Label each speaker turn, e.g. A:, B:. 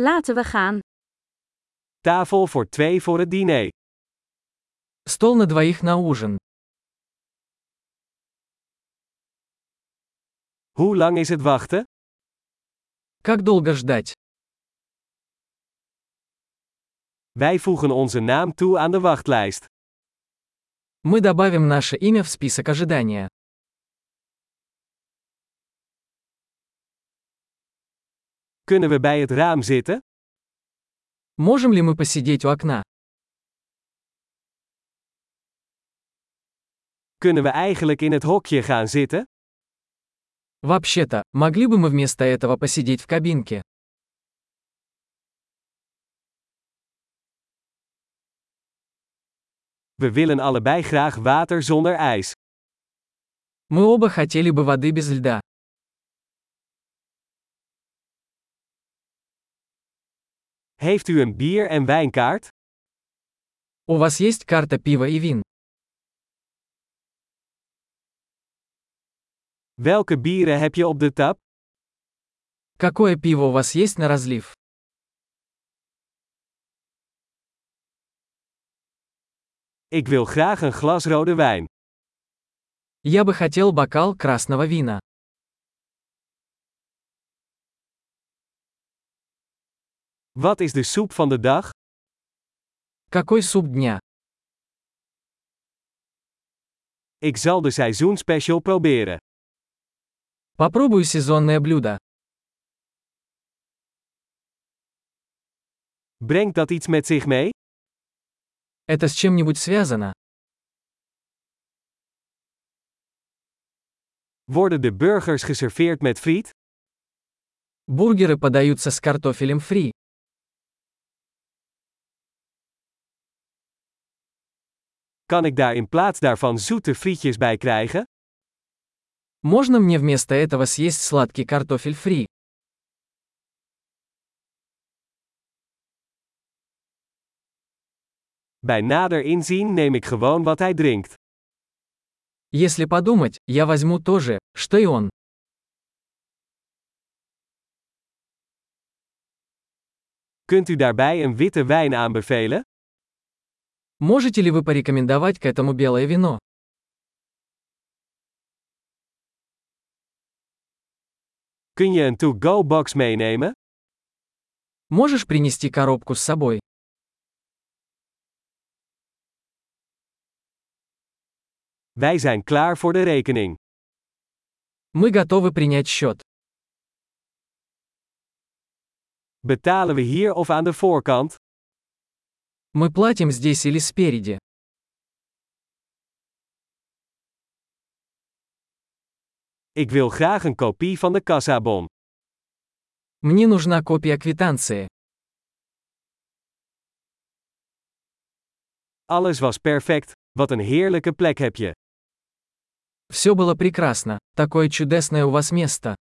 A: Laten we gaan.
B: Tafel voor twee voor het diner.
C: Стол на двоих на ужин.
B: Hoe lang is het wachten?
C: Как долго ждать?
B: Wij voegen onze naam toe aan de wachtlijst.
C: Мы добавим наше имя в список ожидания.
B: Kunnen we bij het raam zitten?
C: Можем ли мы посидеть у окна?
B: Kunnen we eigenlijk in het hokje gaan zitten?
C: Вообще-то, могли бы мы вместо этого посидеть в кабинке?
B: We willen allebei graag water zonder ijs.
C: Мы оба хотели бы воды без льда.
B: Heeft u een bier- en wijnkaart?
C: У вас есть карта пива и вин?
B: Welke bieren heb je op de tap?
C: Какое пиво у вас есть на разлив?
B: Ik wil graag een glas rode wijn.
C: Я бы хотел бокал красного вина.
B: Wat is de soep van de dag?
C: Какой суп дня?
B: Ik zal de seizoenspecial proberen.
C: Попробую сезонное блюдо.
B: Brengt dat iets met zich mee?
C: Это с чем-нибудь связано?
B: Worden de burgers geserveerd met friet?
C: Бургеры подаются с картофелем фри.
B: Kan ik daar in plaats daarvan zoete frietjes bij krijgen?
C: Можно мне вместо этого съесть сладкий картофель фри?
B: Bij nader inzien neem ik gewoon wat hij drinkt.
C: Если подумать, я возьму то же, что и он.
B: Kunt u daarbij een witte wijn aanbevelen?
C: Можете ли вы порекомендовать к этому белое вино?
B: Kun je een to-go box meenemen?
C: Можешь принести коробку с собой?
B: Wij zijn klaar voor de rekening.
C: Мы готовы принять счет.
B: Betalen we hier of aan de voorkant?
C: Мы платим здесь или спереди.
B: Ik wil graag een kopie van de kassabon.
C: Мне нужна копия квитанции.
B: Alles was perfect. Wat een heerlijke plek heb je.
C: Все было прекрасно. Такое чудесное у вас место.